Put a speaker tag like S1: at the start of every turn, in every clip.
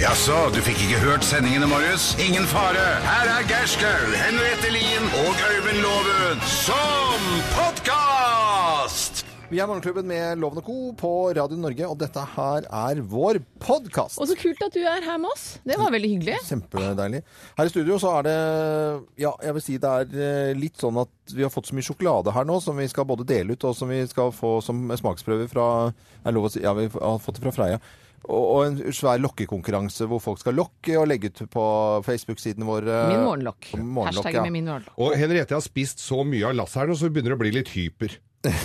S1: Jaså, du fikk ikke hørt sendingene, Marius? Ingen fare. Her er Gerskaug, Henriette Lien og Øyvind Loven som podkast!
S2: Vi er Morgenklubben med Loven og Co. på Radio Norge, og dette her er vår podkast.
S3: Og så kult at du er her med oss. Det var veldig hyggelig.
S2: Eh, Kjempedeilig. Her i studio så er det Ja, jeg vil si det er eh, litt sånn at vi har fått så mye sjokolade her nå som vi skal både dele ut, og som vi skal få som smaksprøver fra Er det lov å si? Ja, vi har fått det fra Freia. Og, og en svær lokkekonkurranse hvor folk skal lokke og legge ut på Facebook-sidene våre.
S3: Min morgenlokk.
S2: Morgenlokk,
S3: Hashtag
S2: ja.
S3: med min morgenlokk.
S4: Og Henriette har spist så mye av lasseren, og så begynner det å bli litt hyper.
S3: Eh,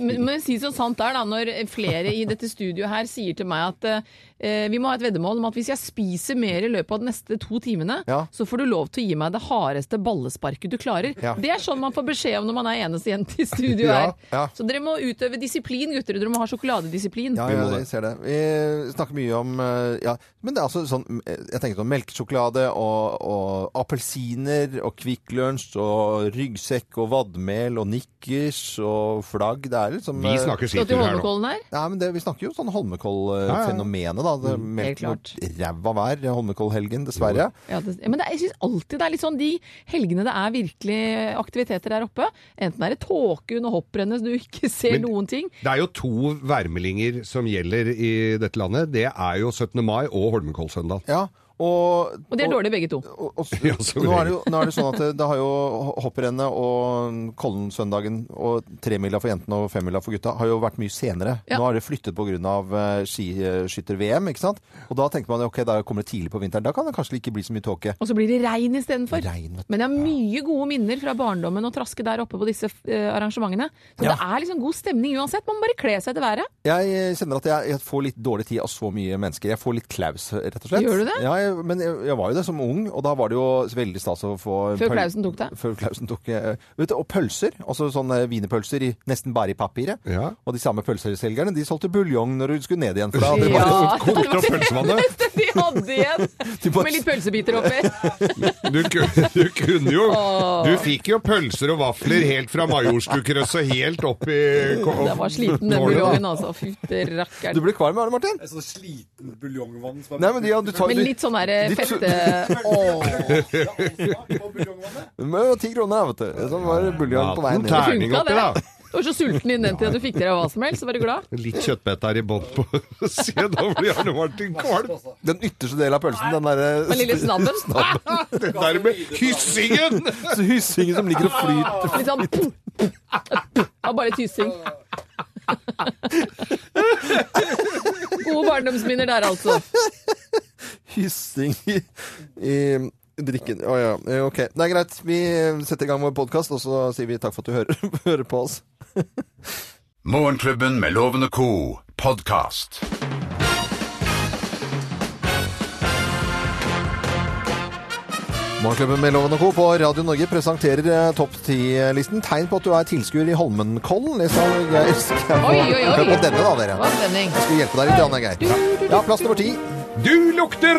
S3: Men men si så sant det er, da, når flere i dette studioet her sier til meg at eh, vi må ha et veddemål om at hvis jeg spiser mer i løpet av de neste to timene,
S2: Ja.
S3: så får du lov til å gi meg det hardeste ballesparket du klarer.
S2: Ja.
S3: Det er sånn man får beskjed om når man er eneste jente i studio
S4: Ja,
S3: her.
S2: ja.
S3: Så dere må utøve disiplin, gutter. Dere må ha sjokoladedisiplin.
S2: Ja,
S4: Vi
S2: ja,
S4: må det.
S2: jeg ser det. Vi snakker mye om eh, ja, Men det er altså sånn eh, Jeg tenker sånn melkesjokolade og, og appelsiner og Kvikk Lunsj og ryggsekk og vadmel og nikkers og flagg. Det er liksom
S4: Vi
S2: eh,
S4: snakker
S3: Skal til
S4: skitur her nå.
S3: Holmenkollen her?
S2: Nei, men det, Vi snakker jo om sånn
S4: Ja, ja.
S2: Holmenkoll-fenomenet, da. Det, melk
S3: Helt
S2: mot ræva vær Holmenkollhelgen, dessverre.
S3: Ja, det, ja, men det, er- jeg syns alltid det er litt sånn de helgene det er virkelig aktiviteter der oppe. Enten er det tåke under hopprennet så du ikke ser
S4: Men-
S3: noen ting.
S4: Det er jo to værmeldinger som gjelder i dette landet. Det er jo 17. mai og Holmenkollsøndag.
S2: Ja, og,
S3: Og de er dårlige begge to.
S2: og, og,
S4: Ja, som
S2: nå, er det jo, nå er det sånn at det, det har jo hopprennet og mm, Kollensøndagen og tremila for jentene og femmila for gutta har jo vært mye senere.
S3: Ja.
S2: Nå har det flyttet pga. skiskytter-VM, eh, ikke sant? Og da tenkte man ok, da kommer det tidlig på vinteren. Da kan det kanskje ikke bli så mye tåke.
S3: Og så blir det regn istedenfor.
S2: Regn, vet du.
S3: Men jeg har mye gode minner fra barndommen og traske der oppe på disse eh, arrangementene. Så
S2: Ja.
S3: det er liksom god stemning uansett. Man må bare kle seg etter været.
S2: Jeg eh, kjenner at jeg, jeg får litt dårlig tid av så mye mennesker. Jeg får litt klaus, rett og slett.
S3: Gjør du det?
S2: Ja, jeg, men jeg, jeg var jo det som ung, og da var det jo veldig stas å få
S3: Før
S2: pøl-
S3: klausen tok deg?
S2: Før klausen tok eh, vet du, Og pølser. Altså sånne wienerpølser i- nesten bare i papiret.
S4: Ja.
S2: Og de samme pølseselgerne de solgte buljong når du skulle ned igjen. For da hadde
S3: Ja.
S2: det bare,
S4: Kokte opp pølsevannet!
S3: Det de hadde igjen!
S2: De bare-
S3: Med litt pølsebiter oppi.
S4: Du, ku- du kunne jo Du fikk jo pølser og vafler helt fra Majorstukrøsset helt opp i
S3: Jeg var sliten den buljongen, altså. Fytti
S2: Du
S3: rakkeren.
S2: ble kvalm av det, Martin?
S5: sånn sliten buljongvann som er
S2: Nei, men ja, du tar
S3: Men litt sånn derre
S2: De tu-
S3: fette Åh.
S5: Ja, smak på buljongvannet.
S2: Men det var Ti kroner, vet du. Sånn var det buljong på veien
S4: Maten
S2: ned.
S4: tær.
S3: Funka
S4: Terning oppi,
S3: det?
S4: da.
S3: Du var så sulten innen den tida du fikk dere hva som helst, så var du glad?
S4: Litt kjøttbett her i bånn på Se, da blir Arne Martin kvalm!
S2: Den ytterste delen av pølsen, den eh, derre
S3: Den lille snabben?
S4: Det der med hyssingen!
S2: hyssingen som ligger og flyter.
S3: Litt sånn puh, puh, puh. Ja, bare tyssing. Gode barndomsminner der, altså.
S2: Hyssing i, i drikken. Å ja, eh, ok. Det er greit. Vi setter i gang vår podkast, og så sier vi takk for at du hører, hører på oss.
S1: Morgenklubben med Loven og co. podkast.
S2: Morgenklubben med Loven og Co. på Radio Norge presenterer eh, topp ti-listen. Tegn på at du er tilskuer i Holmenkollen. Liksom. Jeg skal få-
S3: Oi, oi, oi.
S2: Hør på denne, da, dere.
S3: Det var stemning.
S2: Jeg skulle hjelpe deg litt, Janne Geir. Ja, plass nummer ti.
S4: Du lukter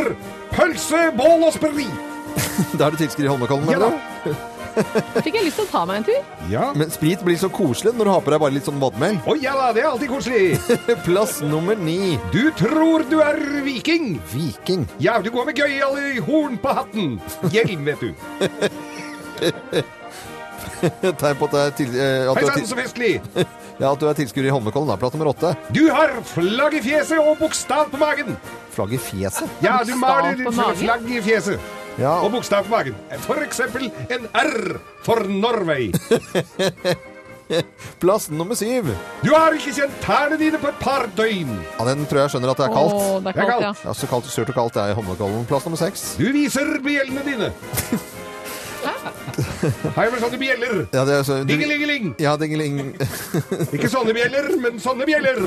S4: pølse, bål og sprit!
S2: Da er du tilskuer i Holmenkollen,
S4: Ja
S2: mener
S4: da.
S2: du?
S3: Fikk jeg lyst til å ta meg en tur?
S4: Ja.
S2: Men sprit blir så koselig når du har på deg bare litt sånn vadmel.
S4: Å ja da, det er alltid koselig.
S2: Plass nummer ni.
S4: Du tror du er viking.
S2: Viking.
S4: Ja, du går med gøyal i horn på hatten. Hjelm, vet du.
S2: Tegn på at, det er til, eh, at, du, er
S4: Hei sann,
S2: til,
S4: så festlig.
S2: ja, at du er tilskuer i Holmenkollen. Da. Plass nummer åtte.
S4: Du har flagg i fjeset og bokstav på magen.
S2: Flagg i fjeset.
S4: Ja, du maler
S3: Bokstav på magen?
S4: flagg i fjeset
S2: Ja,
S4: og bokstav på magen. For eksempel en R for Norway.
S2: plass nummer syv.
S4: Du har ikke kjent tærne dine på et par døgn.
S2: Ja, den tror jeg skjønner at det er kaldt.
S3: Å, det er
S4: Det er
S3: kaldt, ja.
S4: kaldt.
S2: Ja, så kaldt, Sørt og kaldt det er i Holmenkollen. Plass nummer seks.
S4: Du viser bjellene dine. Hei, men sånne bjeller.
S2: Ja, det er så, du,
S4: Dingelingeling.
S2: ja, dingeling.
S4: Ikke sånne bjeller, men sånne bjeller.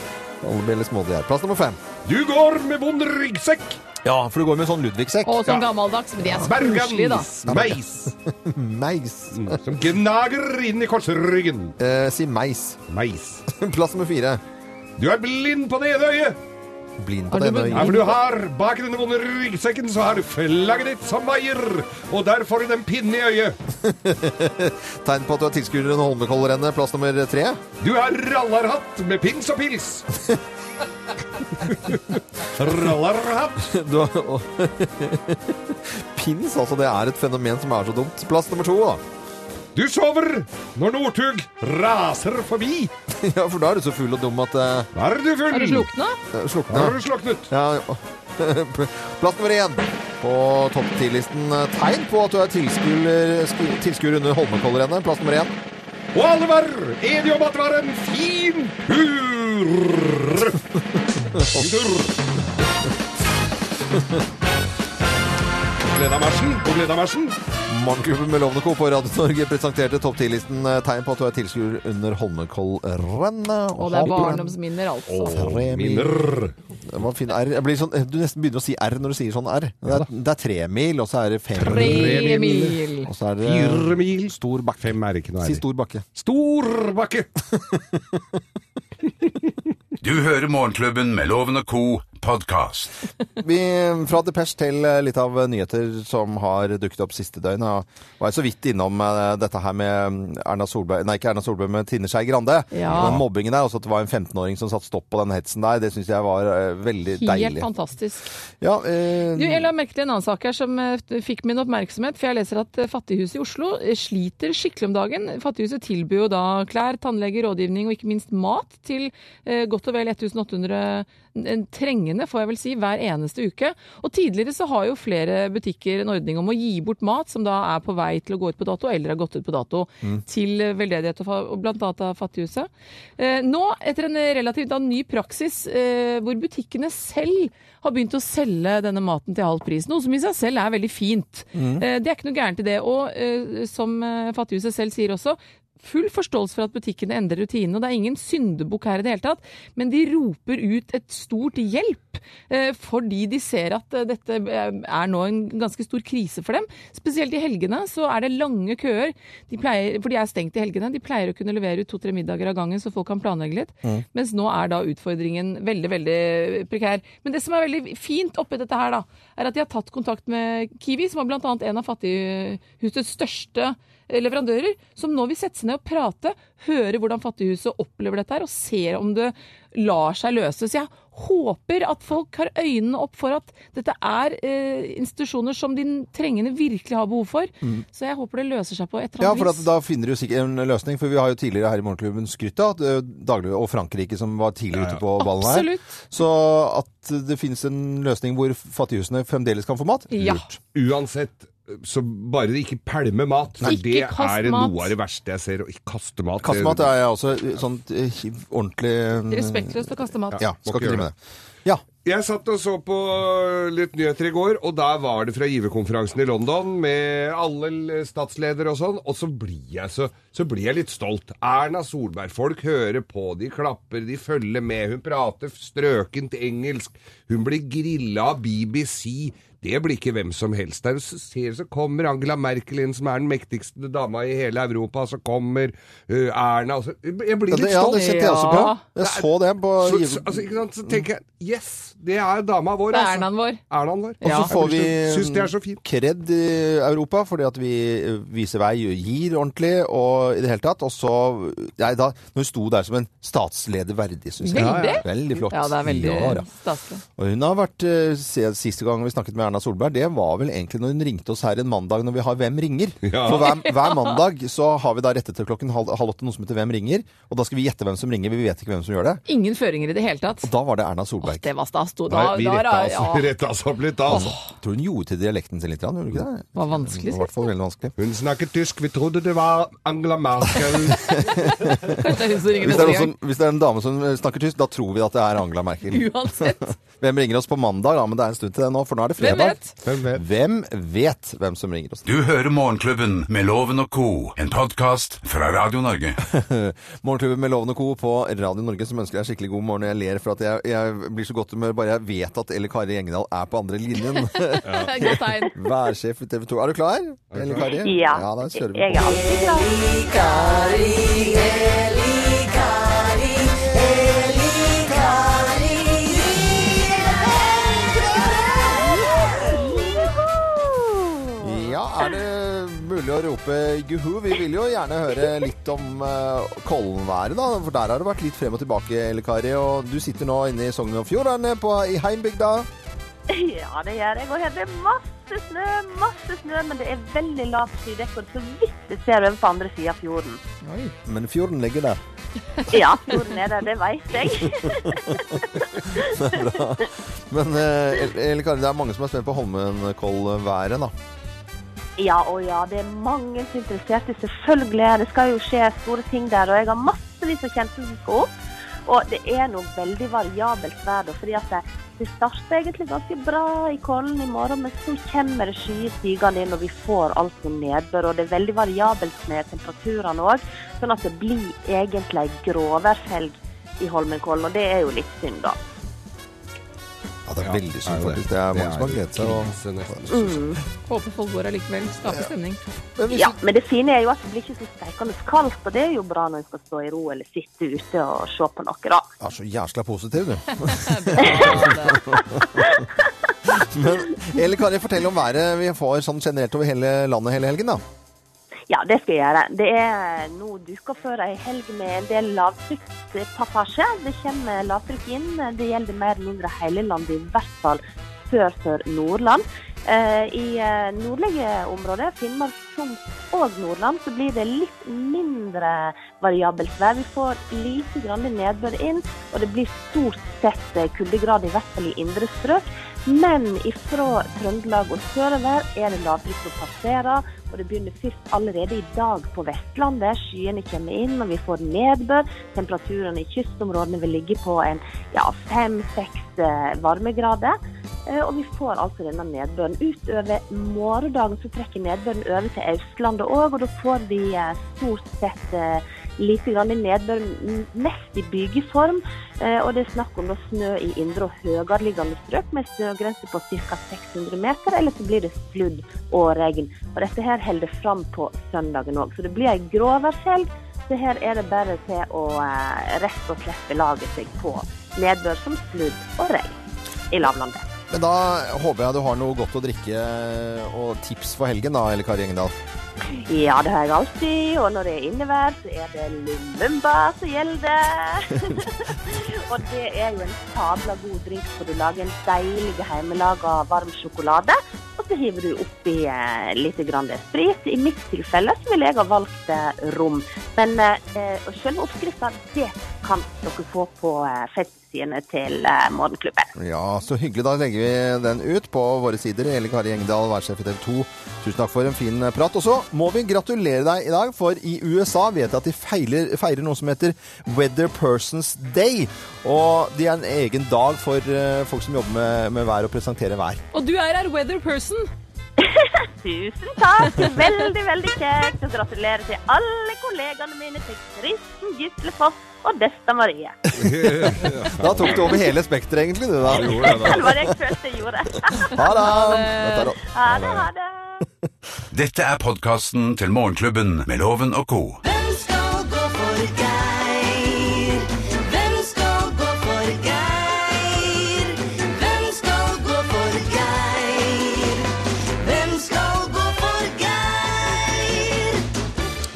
S2: Alle blir litt små de er. Plass nummer fem.
S4: Du går med vond ryggsekk.
S2: Ja, for du går med sånn Ludvigsekk.
S3: Og sånn gammeldags. Men det er så koselig, da.
S4: Bergans meis
S2: Meis.
S4: som gnager inn i korsryggen.
S2: Eh, si meis.
S4: Meis.
S2: Plass nummer fire.
S4: Du er blind på det ene øyet.
S2: Blind på
S3: Har du
S2: det
S3: blitt-
S4: Ja,
S2: ene øyet.
S4: for du har Bak denne vonde ryggsekken så har du flagget ditt som veier, og der får du den pinne i øyet.
S2: Tegn på at du er tilskuer under Holmenkollrennet. Plass nummer tre.
S4: Du har rallarhatt med pins og pils.
S2: Du har, og, pins, altså. Det er et fenomen som er så dumt. Plass nummer to, da.
S4: Du sover når Northug raser forbi.
S2: Ja, for da er du så full og dum at eh, det
S4: Da er du full.
S3: Har du slukna?
S4: Da
S2: slukner.
S4: er du sluknet.
S2: Ja, ja. Plass nummer én på topp ti-listen. Tegn på at du er tilskuer sku- tilskuer under Holmenkollrennet. Plass nummer én.
S4: Og alle var enige om at det var en fin tur. Fin tur. Gleda marsjen og gleda marsjen.
S2: Morgenklubben med Lovende Co. på Radio Norge presenterte topp ti-listen tegn på at du er tilskuer under Holmenkollrennet.
S3: Og det er
S2: Holmenkollen.
S3: barndomsminner, altså.
S2: Tre mil.
S4: Minner.
S2: Det var en fin R. Jeg blir sånn, du nesten begynner å si R når du sier sånn R. Det er, det er tre mil, og så er det fem
S3: Tre mil.
S2: Og så er det
S4: Fire mil.
S2: stor bakke.
S4: Fem er ikke noe
S2: Si
S4: ærlig.
S2: stor bakke.
S4: Storbakke.
S1: Du hører Morgenklubben med Loven og Co. podcast.
S2: Vi, fra Depeche til eh, litt av nyheter som har dukket opp siste døgn. Jeg var så vidt innom eh, dette her med mm, Erna Solberg Nei, ikke Erna Solberg, men Trine Skei Grande.
S3: Ja.
S2: Og Den mobbingen der. Også at det var en 15-åring som satte stopp på den hetsen der. Det syns jeg var eh, veldig
S3: Helt
S2: deilig.
S3: fantastisk.
S2: Ja, eh,
S3: Du, jeg la merke til en annen sak her som eh, fikk min oppmerksomhet. For jeg leser at eh, Fattighuset i Oslo eh, sliter skikkelig om dagen. Fattighuset tilbyr jo da klær, tannlege, rådgivning og ikke minst mat til eh, godt og vel 1800 n- trengende, får jeg vel si, hver eneste uke. Og tidligere så har jo flere butikker en ordning om å gi bort mat som da er på vei til å gå ut på dato, eller har gått ut på dato, til eh, veldedighet og, fa- og blant annet av Fattighuset. Eh, nå, etter en eh, relativt da, ny praksis eh, hvor butikkene selv har begynt å selge denne maten til halv pris, noe som i seg selv er veldig fint. Eh, Det er ikke noe gærent i det. Og eh, som eh, Fattighuset selv sier også, full forståelse for at butikkene endrer rutinene, og det er ingen syndebukk her i det hele tatt, men de roper ut et stort hjelp eh, fordi de ser at eh, dette eh, er nå en ganske stor krise for dem. Spesielt i helgene så er det lange køer, de pleier, for de er stengt i helgene. De pleier å kunne levere ut to-tre middager av gangen, så folk kan planlegge litt.
S2: Mm.
S3: Mens nå er da utfordringen veldig, veldig prekær. Men det som er veldig fint oppi dette her, da, er at de har tatt kontakt med Kiwi, som er bl.a. en av Fattighusets største leverandører, som nå vil sette seg ned og prate, høre hvordan Fattighuset opplever dette her, og ser om det lar seg løse. Så jeg håper at folk har øynene opp for at dette er eh, institusjoner som de trengende virkelig har behov for. Så jeg håper det løser seg på et eller
S2: Mm. Ja,
S3: annet
S2: for at
S3: vis.
S2: da finner du sikkert en løsning. For vi har jo tidligere her i Morgenklubben skrytt av at, eh, daglig, og Frankrike som var tidlig ute på ballen her.
S3: Absolutt.
S2: Så at det finnes en løsning hvor fattighusene fremdeles kan få mat.
S3: Ja.
S2: Lurt.
S4: Uansett, så bare de ikke pælmer mat.
S3: Ikke
S4: det
S3: kast
S4: er
S3: mat.
S4: noe av det verste jeg ser. Å ikke kaste mat.
S2: Kassemat er jeg også eh, sånn eh, ordentlig eh,
S3: Respektløst å kaste mat.
S2: Ja, skal
S4: Må ikke
S2: ikke drive
S4: gjøre
S2: med det. Ja.
S4: Jeg satt og så på øh, litt nyheter i går, og der var det fra giverkonferansen i London med alle l- statsledere og sånn, og så blir jeg, så, så blir jeg litt stolt. Erna Solberg, folk hører på, de klapper, de følger med, hun prater strøkent engelsk, hun blir grilla av BBC. Det blir ikke hvem som helst der. Så ser så kommer Angela Merkel inn, som er den mektigste dama i hele Europa, så kommer uh, Erna og så, Jeg blir
S2: Ja,
S4: litt
S2: det, ja,
S4: stolt.
S2: det kjente jeg også
S3: Ja.
S2: på. Jeg så det på
S4: Så, så,
S2: giver-
S4: altså, ikke sant? så tenker jeg Yes, det er dama vår.
S3: Det er
S4: altså.
S3: Ernaen vår.
S4: Ernaen vår.
S2: Og så
S3: Ja.
S2: får vi
S4: Syns det er så fint.
S2: kred i Europa fordi at vi eh, viser vei, gir ordentlig og i det hele tatt. Og så Nei, da Når hun sto der som en statsleder verdig, syns jeg.
S3: Veldig.
S2: Veldig flott.
S3: Ja, det er veldig
S2: Ja, da.
S3: staselig.
S2: Og hun har vært eh, se- Siste gang vi snakket med Erna Solberg, det var vel egentlig når hun ringte oss her en mandag når vi har Hvem ringer?
S4: Ja.
S2: For hver, hver mandag så har vi da rettet til klokken halv, halv åtte noe som heter Hvem ringer? Og da skal vi gjette hvem som ringer, vi vet ikke hvem som gjør det.
S3: Ingen føringer i det hele tatt.
S2: Og da var det Erna Solberg.
S3: Det var stas. Da,
S4: Nei,
S3: da,
S4: vi
S3: da,
S4: retta oss,
S3: ja.
S4: retta oss opp litt da, altså.
S2: Tror hun gjorde til dialekten sin litt, grann, gjorde hun ikke det?
S3: Det var vanskelig.
S2: Det var i hvert fall veldig vanskelig.
S4: Hun snakker tysk, vi trodde det var Angela Merkel.
S3: Kanskje det er hun som ringer
S2: Hvis det, er sånn- noen som,
S3: neste gang.
S2: hvis det er en dame som eh, snakker tysk, da tror vi at det er Angela Merkel.
S3: Uansett.
S2: Hvem ringer oss på mandag? Da? Men det er en stund til det nå, for nå er det
S3: Hvem
S2: fredag.
S3: vet?
S4: Hvem vet?
S2: Hvem vet hvem som ringer oss?
S1: Du hører Morgenklubben med Loven og Co., en podkast fra Radio Norge.
S2: Morgenklubben med Loven og Co. på Radio Norge som ønsker deg skikkelig god morgen. Jeg ler for at jeg, jeg blir så godt humør bare jeg vet at Elle Kari Engedal er på andre linjen.
S3: Godt tegn.
S2: Værsjef i TV 2. Er du klar, Elle Kari?
S6: Ja.
S2: ja da kjører vi
S6: Jeg er
S2: på.
S6: alltid glad.
S2: Ja, er det mulig å rope juhu. Vi vil jo gjerne høre litt om uh, Kollenværet, da. For der har det vært litt frem og tilbake, Elle Kari. Og du sitter nå inne i Sogn og Fjordane på- i heimbygda.
S6: Ja, det gjør jeg. Og her er det masse snø, masse snø, men det er veldig lavt skydekkord, så vidt det ser over på andre sida av fjorden.
S2: Men fjorden ligger der.
S6: Ja, fjorden er der, det vet jeg.
S2: Men eh, Elle- Elle Kari, det er mange som er spent på Holmenkollværet, da.
S6: Ja og ja, det er mange som er interessert i, selvfølgelig. Det skal jo skje store ting der, og jeg har massevis av kjente som skal opp. Og det er noe veldig variabelt vær, da, fordi at det, det starter egentlig ganske bra i Kollen i morgen, men så kommer det skyer stigende inn, og vi får altså nedbør. Og det er veldig variabelt med temperaturene òg, sånn at det blir egentlig ei gråværshelg i Holmenkollen, og det er jo litt synd, da.
S2: Ja, det er veldig
S4: er
S2: synd,
S4: jo det.
S2: faktisk. Det er mange
S4: Det
S2: som har
S4: er
S2: gledet seg. Og... Mm.
S4: krise nesten.
S3: Håper folk går allikevel. Skaper stemning.
S2: Men hvis
S6: Ja, men det fine er jo at det blir ikke så steikende kaldt, og det er jo bra når en skal stå i ro eller sitte ute og se på noe, da.
S2: Du er så jæsla positiv, du.
S3: Ja,
S2: Men Elle Kari, fortell om været vi får sånn generelt over hele landet hele helgen, da.
S6: Ja, det skal jeg gjøre. Det er nå duka for ei helg med en del lavtrykkspassasje. Det kommer lavtrykk inn. Det gjelder mer eller mindre hele landet, i hvert fall sør for Nordland. Eh, I eh, nordlige områder, Finnmark, Troms og Nordland, så blir det litt mindre variabelt vær. Vi får lite grann nedbør inn, og det blir stort sett eh, kuldegrad, i hvert fall i indre strøk. Men ifra Trøndelag og sørover er det lavtrykk som passerer, og det begynner først allerede i dag på Vestlandet. Skyene kommer inn, og vi får nedbør. Temperaturene i kystområdene vil ligge på en ja, fem-seks varmegrader. Eh, Og vi får altså denne nedbøren. Utover morgendagen så trekker nedbøren over til Østlandet òg, og da får vi eh, stort sett eh, lite grann i nedbør, m- mest i bygeform. Eh, Og det er snakk om da snø i indre og høyereliggende strøk med snøgrense på ca. 600 meter, eller så blir det sludd og regn. Og dette her holder det fram på søndagen òg, så det blir ei gråværshelg. Så her er det bare til å eh, rett og slett belage seg på nedbør som sludd og regn i lavlandet.
S2: Men da håper jeg du har noe godt å drikke og tips for helgen, da, Elle Kari Engdahl.
S6: Ja, det har jeg alltid. Og når det er innevær, så er det Lumumba som gjelder. og det er jo en sabla god drink, for du lager en deilig hjemmelaga varm sjokolade. Og så hiver du oppi eh, litt grann sprit. I mitt tilfelle så ville jeg ha valgt eh, rom. Men eh, og selve oppskrifta, det kan dere få på eh, Facebook-sidene til eh, Morgenklubben.
S2: Ja, så hyggelig. Da legger vi den ut på våre sider. Elle Kari Engdahl, værsjef i TV 2. Tusen takk for en fin eh, prat. Og så må vi gratulere deg i dag, for i USA vet jeg at de feiler, feirer noe som heter Weather Persons Day. Og det er en egen dag for eh, folk som jobber med, med vær og presenterer vær.
S3: Og du er her weather person.
S6: Tusen takk! Veldig, veldig kjekt. Og gratulerer til alle kollegaene mine, til Kristen Gislefoss og Desta Marie.
S4: Eh,
S2: Da tok du over hele spekteret, egentlig, du da.
S6: Det var det jeg følte jeg gjorde.
S2: Ha det! Dette er-
S6: Ha det, ha det.
S1: Dette er podkasten til Morgenklubben med Loven og co.
S7: Hvem skal gå for Geir? Hvem skal gå for Geir? Hvem skal gå for Geir? Hvem skal gå for Geir?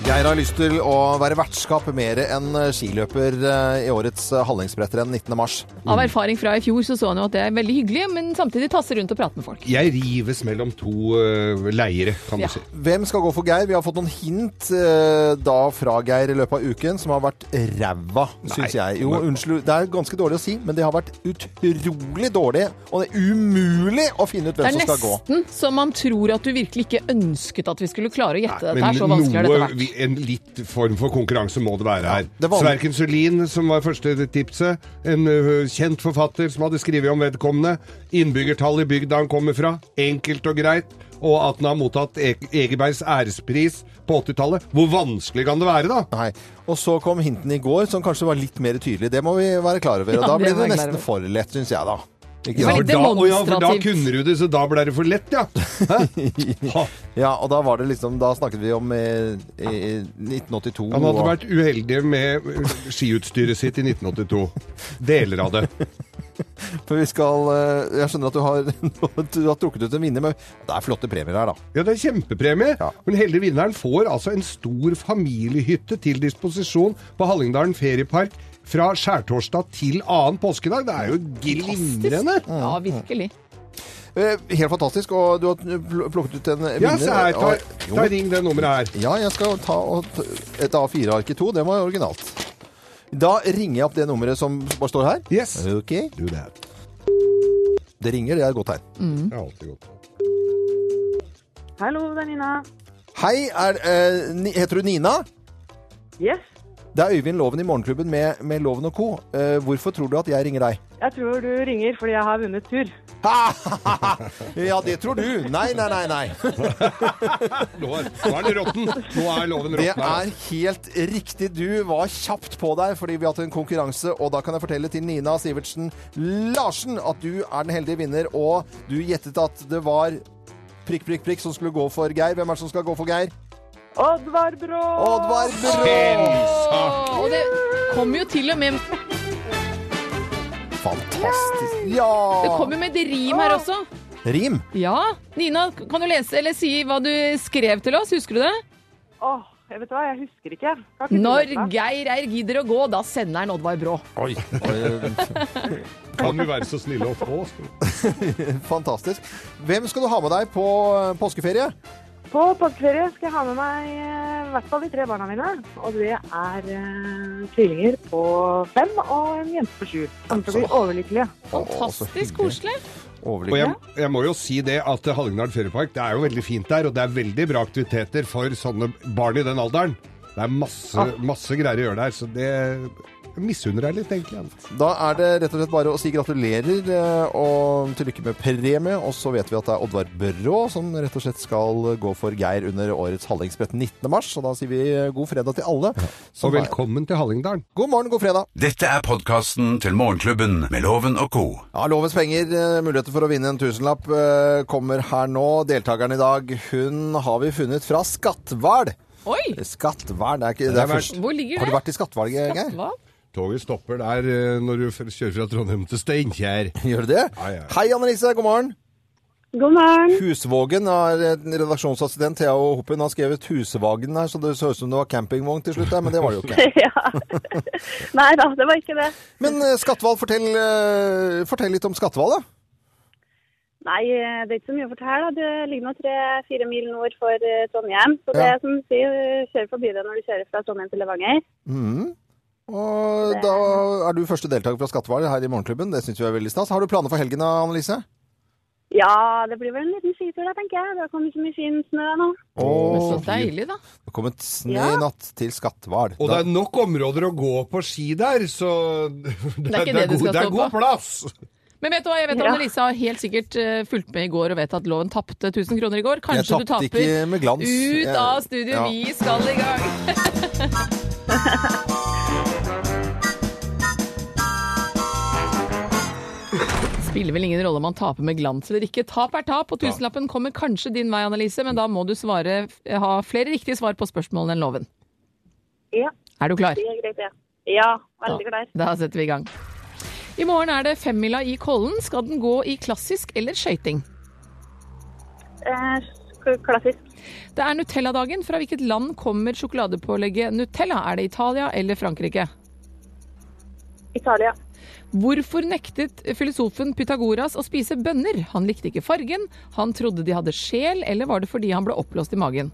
S2: Geir har lyst til å være vertskap mer enn skiløper eh, i årets eh, Hallingsbrettrenn 19. mars.
S3: Av erfaring fra i fjor så så han jo at det er veldig hyggelig, men samtidig tasse rundt og prate med folk.
S4: Jeg rives mellom to eh, leire, kan du
S3: Ja.
S4: si.
S2: Hvem skal gå for Geir? Vi har fått noen hint eh, da fra Geir i løpet av uken som har vært ræva, syns jeg. Jo,
S4: men-
S2: unnskyld, det er ganske dårlig å si, men det har vært utrolig dårlig. Og det er umulig å finne ut
S3: Det
S2: hvem som
S3: er
S2: sånn skal gå.
S3: nesten så man tror at du virkelig ikke ønsket at vi skulle klare å gjette dette her. Så vanskelig har dette
S4: noe,
S3: vært.
S4: vi- en litt form for konkurranse må det være her.
S2: det var-
S4: Sverken Sørlin, som var første tipset, en ø, kjent forfatter som hadde skrevet om vedkommende, innbyggertall i bygda han kommer fra, enkelt og greit, og at han har mottatt e Egebergs ærespris på 80-tallet. Hvor vanskelig kan det være, da?
S2: Nei. Og så kom hintene i går som kanskje var litt mer tydelig. Det må vi være klar over. Og
S3: Ja,
S2: da
S3: det
S2: blir det
S3: må vi være klar
S2: nesten for lett, syns jeg, da. Ikke
S3: Altså, Det var
S2: sant?
S4: For
S3: litt
S4: da, å ja, for da
S3: demonstrativt.
S4: kunne du det, så da ble det for lett, ja. Hæ? Ha.
S2: Ja, og da var det liksom Da snakket vi om eh, eh, 1982.
S4: Han hadde
S2: og-
S4: vært uheldig med ø, skiutstyret sitt i 1982. Deler av det.
S2: For vi skal eh, Jeg skjønner at du har, du har trukket ut en vinner, men det er flotte premier her, da.
S4: Ja, det er kjempepremie.
S2: Ja.
S4: Men heldige vinneren får altså en stor familiehytte til disposisjon på Hallingdalen feriepark fra skjærtorsdag til annen påskedag. Det er jo glimrende!
S3: Ja, virkelig.
S2: Eh, Helt fantastisk. Og du har pl- plukket ut en vinner.
S4: Ja, se her. Ta,
S2: og- Jo,
S4: ta ring det nummeret her.
S2: Ja, jeg skal ta og t- et A4-ark i to. Det var originalt. Da ringer jeg opp det nummeret som bare står her.
S4: Yes.
S2: Ok.
S4: Do that.
S2: Det ringer, det er et godt tegn.
S4: Det er alltid godt.
S6: Hallo, det er Nina.
S2: Hei, er, eh, Ni- heter du Nina?
S6: Yes.
S2: Det er Øyvind Loven i Morgenklubben med, med Loven og co. Eh, hvorfor tror du at jeg ringer deg?
S6: Jeg tror du ringer fordi jeg har vunnet tur.
S2: Ja, det tror du. Nei, nei, nei, nei.
S4: Nå er, nå er den råtten! Nå er loven
S2: Det
S4: råtten. her.
S2: er helt riktig. Du var kjapt på der fordi vi har hatt en konkurranse. Og da kan jeg fortelle til Nina Sivertsen Larsen at du er den heldige vinner. Og du gjettet at det var prikk, prikk, prikk som skulle gå for Geir. Hvem er det som skal gå for Geir?
S6: Oddvar Brå!
S2: Oddvar Brå!
S3: Åh, og det kom jo til og med
S2: Fantastisk.
S3: Det
S2: Ja!
S3: kom jo med et rim her også.
S2: Rim.
S3: Ja. Nina, kan du lese eller si hva du skrev til oss? Husker du det?
S6: Åh, jeg vet hva, jeg husker ikke. Kan ikke du
S3: Når
S6: lese meg?
S3: Geir Eir gidder å gå, da sender han Oddvar Brå.
S2: Oi.
S4: Kan vi være så snille å få?
S2: Fantastisk. Hvem skal du ha med deg på eh, påskeferie?
S6: På påskeferie skal jeg ha med meg eh, i hvert fall de tre barna mine. Og det er eh, tvillinger på fem og en jente på sju. Kommer til å bli overlykkelige.
S3: Fantastisk koselig.
S4: Og jeg,
S2: Overligger.
S4: jeg må jo si det at Hallingdal Feriepark det er jo veldig fint der, og det er veldig bra aktiviteter for sånne barn i den alderen. Det er masse,
S3: Ah.
S4: masse greier å gjøre der, så det jeg misunner deg litt, egentlig.
S2: Da er det rett og slett bare å si gratulerer eh, og til lykke med premie. Og så vet vi at det er Oddvar Brå som rett og slett skal gå for Geir under årets Hallingsbrett 19. mars. Og da sier vi god fredag til alle. som
S4: Og
S2: er-
S4: velkommen til Hallingdalen.
S2: God morgen, god fredag.
S1: Dette er podkasten til Morgenklubben med Loven og co.
S2: Ja, Lovens penger, eh, muligheter for å vinne en tusenlapp, eh, kommer her nå. Deltakeren i dag, hun har vi funnet fra Skatval.
S3: Oi!
S2: Skatval, det er ikke det er
S4: Hvor
S2: først.
S3: Hvor ligger
S2: Har du
S3: det?
S2: vært i Skatval, Geir?
S3: Hva?
S4: Toget stopper der eh, når du f- kjører fra Trondheim til Steinkjer.
S2: Gjør du det?
S4: Ja, ja.
S2: Hei, Annelise. God morgen.
S6: God morgen.
S2: Husvågen er en redaksjonsassistent Thea Hoppen har skrevet Husvagen her, så det så ut som det var campingvogn til slutt, der, men det var det jo ikke.
S6: ja. Nei da, det var ikke det.
S2: Men eh, Skatval, fortell, eh, fortell litt om Skatval, da.
S6: Nei, eh, det er ikke så mye å fortelle. da. Det ligger nå tre-fire mil nord for eh, Trondheim. Så det
S2: Ja.
S6: er som du sier, eh, kjører forbi det når du kjører fra Trondheim til Levanger.
S2: Mhm. Og da er du første deltaker fra Skatval her i Morgenklubben. Det syns vi er veldig stas. Har du planer for helgen, da, Annelise?
S6: Ja, det blir vel en liten skitur da, tenker jeg. Det har kommet så mye fin snø nå.
S3: Men
S2: Åh,
S3: så deilig, da.
S2: det har kommet snø
S6: Ja.
S2: i natt til Skatval.
S4: Og det
S2: Da-
S4: er nok områder å gå på ski der, så Det
S3: ikke det du skal
S4: god, det
S3: stå
S4: er god
S3: på.
S4: plass!
S3: Men vet du hva, jeg vet
S6: Ja.
S3: Annelise har helt sikkert eh, fulgt med i går og vet at loven tapte 1000 kroner i går.
S2: Jeg
S3: Kanskje du
S2: tapte
S3: taper
S2: ikke med glans.
S3: ut
S2: Jeg-
S3: av studio.
S2: Ja.
S3: Vi skal i gang. Spiller vel ingen rolle om man taper med glans eller ikke. Tap er tap, og tusenlappen kommer kanskje din vei, Annelise, men da må du svare, eh, ha flere riktige svar på spørsmålene enn loven.
S6: Ja,
S3: Er du klar?
S6: det er greit, ja. Ja, veldig glad.
S3: Da setter vi i gang. I morgen er det femmila i Kollen. Skal den gå i klassisk eller skøyting?
S6: Eh, k- klassisk.
S3: Det er Nutella-dagen. Fra hvilket land kommer sjokoladepålegget Nutella? Er det Italia eller Frankrike?
S6: Italia.
S3: Hvorfor nektet filosofen Pythagoras å spise bønner? Han likte ikke fargen, han trodde de hadde sjel, eller var det fordi han ble oppblåst i magen?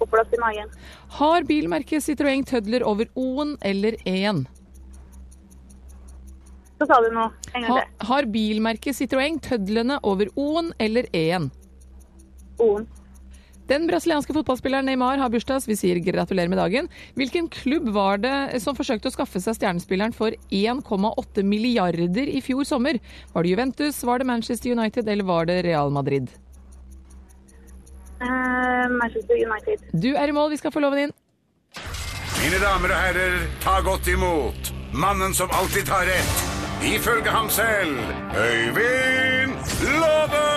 S6: Oppblåst i magen.
S3: Har bilmerket Citroën Tødler over O-en eller E-en?
S6: Så sa du noe. En gang
S3: Ha,
S6: til.
S3: har bilmerket Citroën Tødlene over O-en eller E-en?
S6: O-en.
S3: Den brasilianske fotballspilleren Neymar har bursdag, så vi sier gratulerer med dagen. Hvilken klubb var det som forsøkte å skaffe seg stjernespilleren for 1,8 milliarder i fjor sommer? Var det Juventus, var det Manchester United eller var det Real Madrid?
S6: Eh, Manchester United.
S3: Du er i mål, vi skal få loven inn.
S1: Mine damer og herrer, ta godt imot mannen som alltid tar rett. Ifølge ham selv Øyvind Låve!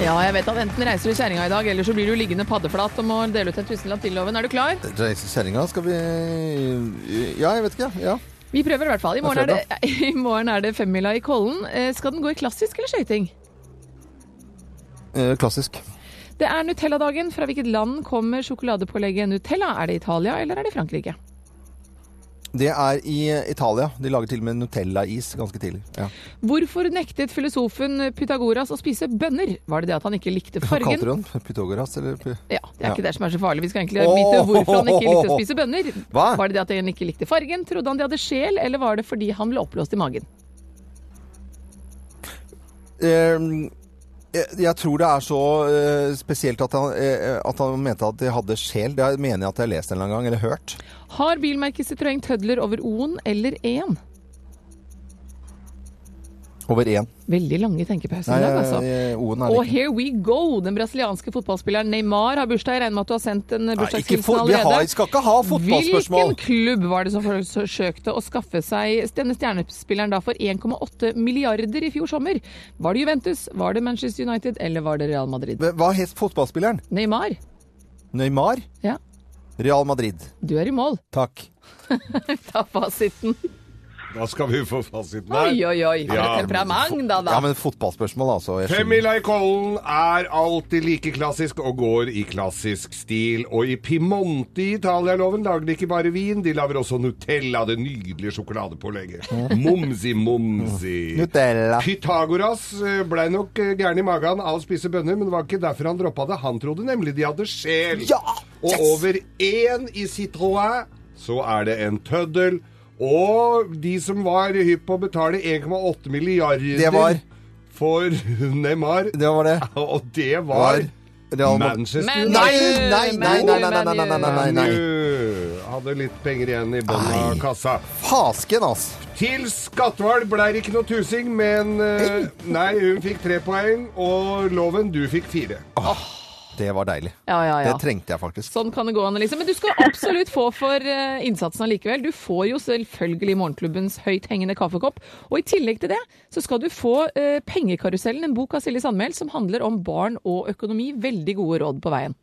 S3: Ja, jeg vet at enten reiser du kjerringa i dag, eller så blir du liggende paddeflat og må dele ut en tusenlapp til loven. Er du klar?
S2: Reise kjerringa, skal vi Ja, jeg vet ikke. Ja.
S3: Vi Vi prøver i hvert fall. I morgen er
S2: fredag.
S3: det, i morgen er det femmila i Kollen. Eh, Skal den gå i klassisk eller skøyting?
S2: Eh, klassisk.
S3: Det er Nutella-dagen. Fra hvilket land kommer sjokoladepålegget Nutella? Er det Italia eller er det Frankrike?
S2: Det er i Italia. De lager til og med Nutella-is ganske tidlig. Ja.
S3: Hvorfor nektet filosofen Pythagoras å spise bønner? Var det det at han ikke likte
S2: Hva kalte du
S3: fargen?
S2: den? Pythagoras, eller Py-
S3: Ja, Det er ikke det som er så farlig. Vi skal egentlig
S2: Åh!
S3: vite hvorfor han ikke likte å spise bønner.
S2: Hva?
S3: Var det det at han ikke likte fargen? Trodde han de hadde sjel, eller var det fordi han ble oppblåst i magen?
S2: Eh, jeg, jeg tror det er så eh, spesielt at han, eh, at han mente at de hadde sjel. Det er- mener jeg at jeg har lest en eller annen gang, eller hørt.
S3: Har bilmerket Citroën tødler over O-en eller E-en?
S2: Over én.
S3: Veldig lange tenkepauser
S2: Nei,
S3: i dag, altså.
S2: eh, O-en er
S3: Og
S2: like.
S3: here we go! Den brasilianske fotballspilleren Neymar har bursdag. Jeg regner med at du har sendt en
S2: Nei, ikke
S3: bursdagshilsen
S2: fo- vi har,
S3: allerede.
S2: skal ikke ha fotballspørsmål!
S3: Hvilken klubb var det som forsøkte å skaffe seg denne stjernespilleren da for 1,8 milliarder i fjor sommer? Var det Juventus, var det Manchester United eller var det Real Madrid?
S2: Men Hva het fotballspilleren?
S3: Neymar,
S2: Neymar?
S3: Ja.
S2: Real Madrid.
S3: du er i mål.
S2: Takk.
S3: Ta fasiten.
S4: Da skal vi få fasiten
S3: Oi,
S4: her.
S3: oi, oi. For
S4: Ja.
S3: et temperament, da, da.
S2: Ja, men fotballspørsmål, altså. Jeg skjønner.
S4: Femmila i Kollen er alltid like klassisk og går i klassisk stil. Og i Piemonte i Italialoven lager de ikke bare vin, de lager også Nutella, det nydelige sjokoladepålegget. Momsi, momsi.
S2: Mm. Nutella.
S4: Pythagoras eh, ble nok eh, gæren i magen av å spise bønner, men det var ikke derfor han droppa det. Han trodde nemlig de hadde sjel.
S2: Ja!
S4: Og
S2: Yes!
S4: over én i Citroën så er det en tøddel. Og de som var hypp på å betale 1,8 milliarder
S2: Det var-
S4: for Neymar
S2: Det var det.
S4: Og det var,
S2: Var Real Madrid.
S4: Manchester
S3: Men-
S2: Nei, nei, nei, nei, nei, nei, nei, nei, nei, nei, nei.
S4: Manu hadde litt penger igjen i bånn av
S2: Nei.
S4: kassa.
S2: Fasken, altså.
S4: Til Skatval ble det ikke noe tusing, men eh, Nei, hun fikk tre poeng, og Loven, du fikk fire.
S2: Det var deilig.
S3: Ja, ja, ja.
S2: Det trengte jeg faktisk.
S3: Sånn kan det gå, Annelise. Men du skal absolutt få for eh, innsatsen allikevel. Du får jo selvfølgelig Morgenklubbens høythengende kaffekopp. Og i tillegg til det så skal du få eh, Pengekarusellen, en bok av Silje Sandmæl som handler om barn og økonomi. Veldig gode råd på veien.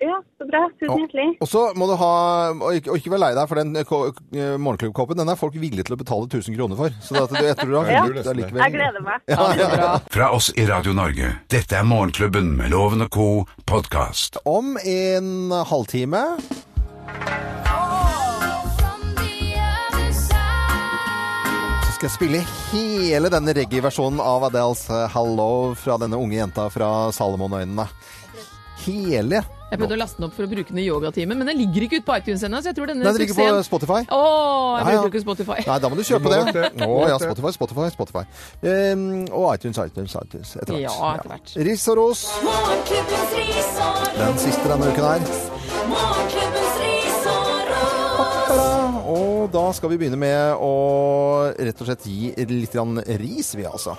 S6: Ja, så bra. Tusen hjertelig.
S2: Og så må du ha Og ikke, og ikke vær lei deg for den eh, ko- eh, morgenklubbkoppen. Den er folk villige til å betale 1000 kroner for. Så det, at du- jeg tror du har
S4: Ja.
S2: vunnet allikevel.
S6: Jeg gleder meg.
S3: Ha det bra.
S1: Fra oss i Radio Norge. Dette er Morgenklubben med Loven og co. podkast.
S2: Om en halvtime
S7: From the other side.
S2: så skal jeg spille hele denne reggae-versjonen av Adels Hello fra denne unge jenta fra Salomonøynene. Hele.
S3: Jeg prøvde å laste den opp for å bruke den i yogatimen, men den ligger ikke ute på iTunes ennå, så jeg tror denne
S2: Den ligger på Spotify.
S3: Å, jeg
S2: Ja, ja.
S3: bruker ikke Spotify.
S2: Nei, da må du kjøpe
S4: Du må
S2: det.
S4: det.
S2: Å ja, Spotify, Spotify, Spotify. Ehm, og iTunes, iTunes, iTunes. Etter hvert.
S3: Ja, etter hvert.
S2: Ja. Ris og ros.
S7: Morgenklubbens ris og
S2: Den
S7: ros.
S2: siste denne uken her.
S7: Morgenklubbens ris og ros.
S2: Da, Og da skal vi begynne med å rett og slett gi litt grann ris, vi altså.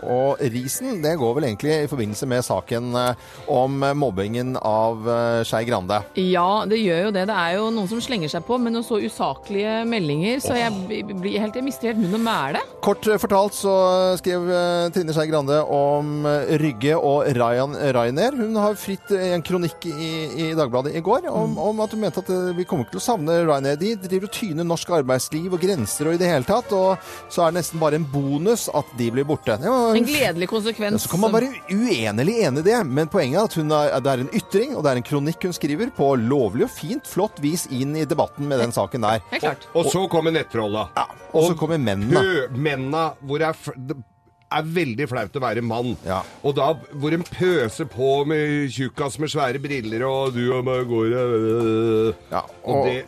S2: Og risen det går vel egentlig i forbindelse med saken eh, om mobbingen av eh, Skei Grande.
S3: Ja, det gjør jo det. Det er jo noen som slenger seg på med noen så usaklige meldinger, så jeg, b- blir helt, jeg mister helt munn og mæle.
S2: Kort eh, fortalt så skrev eh, Trine Skei Grande om eh, Rygge og Ryan Ryanair. Hun har fritt eh, en kronikk i, i Dagbladet i går om, om at hun mente at eh, vi kommer ikke til å savne Ryanair. De driver og tyner norsk arbeidsliv og grenser og i det hele tatt. Og så er det nesten bare en bonus at de blir borte. Det var
S3: En gledelig konsekvens.
S2: Ja, så kan man være uenig eller enig i det, men poenget er at hun er, det er en ytring, og det er en kronikk hun skriver på lovlig og fint, flott vis inn i debatten med den saken der.
S3: Helt klart.
S4: Og så kommer nettrolla.
S2: Og så kommer mennene.
S4: Pø- Menna, hvor er f- det er veldig flaut å være mann.
S2: Ja.
S4: Og da hvor en pøser på med tjukkas med svære briller og du og meg går øh,
S2: Ja,
S4: Og
S2: og-
S4: det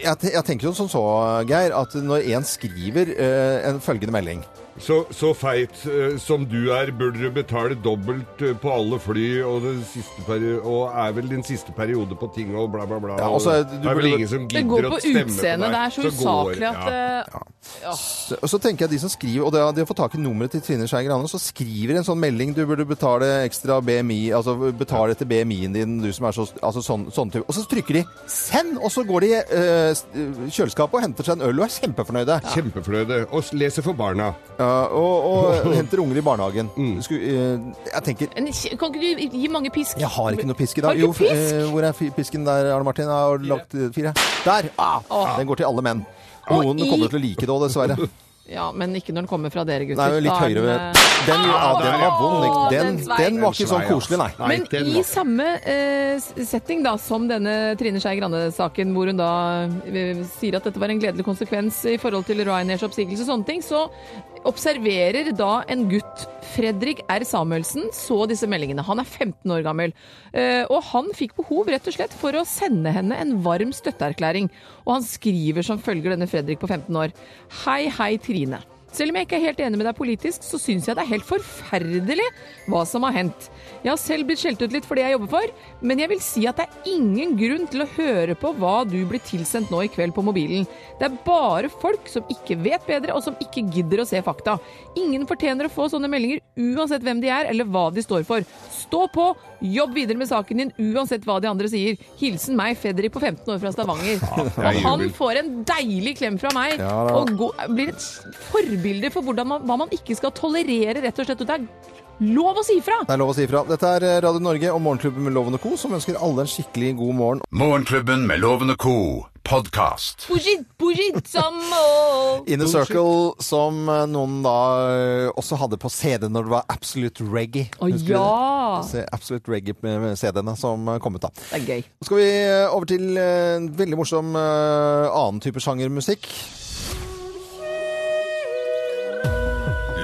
S2: Jeg, te- jeg tenker jo som så, Geir, at når en skriver eh, en følgende melding
S4: så, så feit eh, som du er, burde du betale dobbelt eh, på alle fly, og, den siste peri og er vel din siste periode på ting og bla, bla, bla.
S2: Ja,
S4: og
S2: og så er- du
S4: det er vel
S2: burde-
S4: ingen som
S3: altså, Det
S4: gidder
S3: går
S4: å
S3: på
S4: stemme
S3: utseendet.
S4: på deg.
S3: Det er så
S4: går-
S3: usaklig at
S4: ja.
S3: eh,
S2: så, Og så tenker jeg at de som skriver, og det er- de har fått tak i nummeret til Trine Skei Grande, så skriver en sånn melding du burde betale ekstra BMI, altså betale etter BMI-en din, du som er så altså sånn, sånn type. Og så trykker de 'send', og så går de i eh, s- kjøleskapet og henter seg en øl og er kjempefornøyde.
S4: Kjempefløde. Og s- leser for barna.
S2: Ja, og, og henter unger i barnehagen.
S4: Mm.
S2: Skulle, eh, jeg tenker
S3: En kje- Kan ikke du gi mange pisk?
S2: jeg har ikke noe pisk i
S3: Har
S2: dag.
S3: du
S2: Jo,
S3: ikke
S2: f-
S3: pisk?
S2: eh, hvor er fi- pisken der, Arne Martin? Jeg har lagt eh, fire. Der! Ah,
S3: Åh.
S2: Den går til alle menn.
S3: Og
S2: Noen
S3: i-
S2: kommer til å like det òg, dessverre.
S3: Ja, men ikke når den kommer fra dere, gutter.
S2: Nei, litt
S3: Da er
S2: høyere.
S3: eh,
S2: Den, ja,
S3: Au,
S2: den var vond. ikke? Den,
S3: den svei.
S2: den var ikke sånn
S4: svei, ass.
S2: koselig, nei.
S4: Nei,
S3: Men
S4: den
S3: i
S4: var-
S3: samme eh, s- setting da, som denne Trine Skei Grande-saken, hvor hun da eh, sier at dette var en gledelig konsekvens i forhold til Ryanairs oppsigelse og sånne ting, så observerer da en gutt, Fredrik R. Samuelsen, så disse meldingene. Han er 15 år gammel. Eh, og han fikk behov rett og slett for å sende henne en varm støtteerklæring. Og han skriver som følger denne Fredrik på 15 år. Hei, hei, Trine. Selv om jeg ikke er helt enig med deg politisk, så syns jeg det er helt forferdelig hva som har hendt. Jeg har selv blitt skjelt ut litt for det jeg jobber for, men jeg vil si at det er ingen grunn til å høre på hva du blir tilsendt nå i kveld på mobilen. Det er bare folk som ikke vet bedre, og som ikke gidder å se fakta. Ingen fortjener å få sånne meldinger uansett hvem de er eller hva de står for. Stå på, jobb videre med saken din uansett hva de andre sier. Hilsen meg, Fredrik på 15 år fra Stavanger.
S4: jeg
S3: Og han
S4: jubel.
S3: får en deilig klem fra meg
S2: Ja, da.
S3: og gå- blir et forbilde for hvordan man, hva man ikke skal tolerere, rett og slett. Og det er lov å si ifra!
S2: Det er lov å si ifra. Dette er eh, Radio Norge og Morgenklubben med Loven og Co., som ønsker alle en skikkelig god morgen.
S1: Morgenklubben med Loven og Co. Podcast.
S3: Bujit, bujit, som å-
S2: Inner Circle, som eh, noen da eh, også hadde på CD når det var Absolute Reggae.
S3: Å
S2: Husker du
S3: ja!
S2: det? Se Absolute Reggae med med CD-ene som eh, kom ut da.
S3: Det er gøy.
S2: Nå skal vi eh, over til eh, en veldig morsom eh, annen type sjangermusikk.